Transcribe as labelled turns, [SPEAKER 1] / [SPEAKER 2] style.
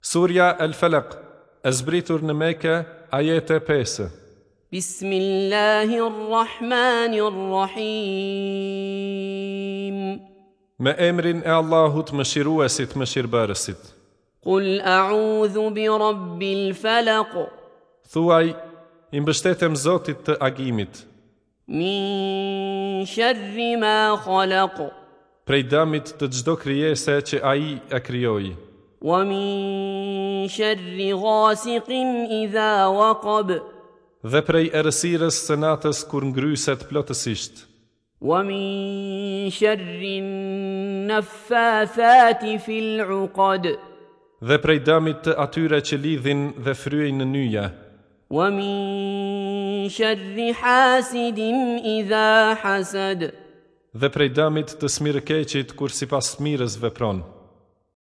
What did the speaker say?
[SPEAKER 1] Surja El Felak, e zbritur në Mekë, ajete 5.
[SPEAKER 2] بسم الله الرحمن الرحيم
[SPEAKER 1] Me emrin e Allahut më shiruesit më shirëbërësit.
[SPEAKER 2] قل أعوذ برب الفلق
[SPEAKER 1] Thuaj, i mbështetem Zotit të agimit,
[SPEAKER 2] من شر ما خلق
[SPEAKER 1] prej dëmit të gjdo kryese që a i e kryoj,
[SPEAKER 2] ومن شر غاسق إذا وقب
[SPEAKER 1] dhe prej erësires së natës kur ngryset plotësisht,
[SPEAKER 2] ومن شر النفاثات في العقد
[SPEAKER 1] dhe prej dëmit të atyre që lidhin dhe fryejnë në nyja,
[SPEAKER 2] ومن شر حاسد إذا حسد
[SPEAKER 1] dhe prej dëmit të smirëkeqit kur si pas smirës vepron,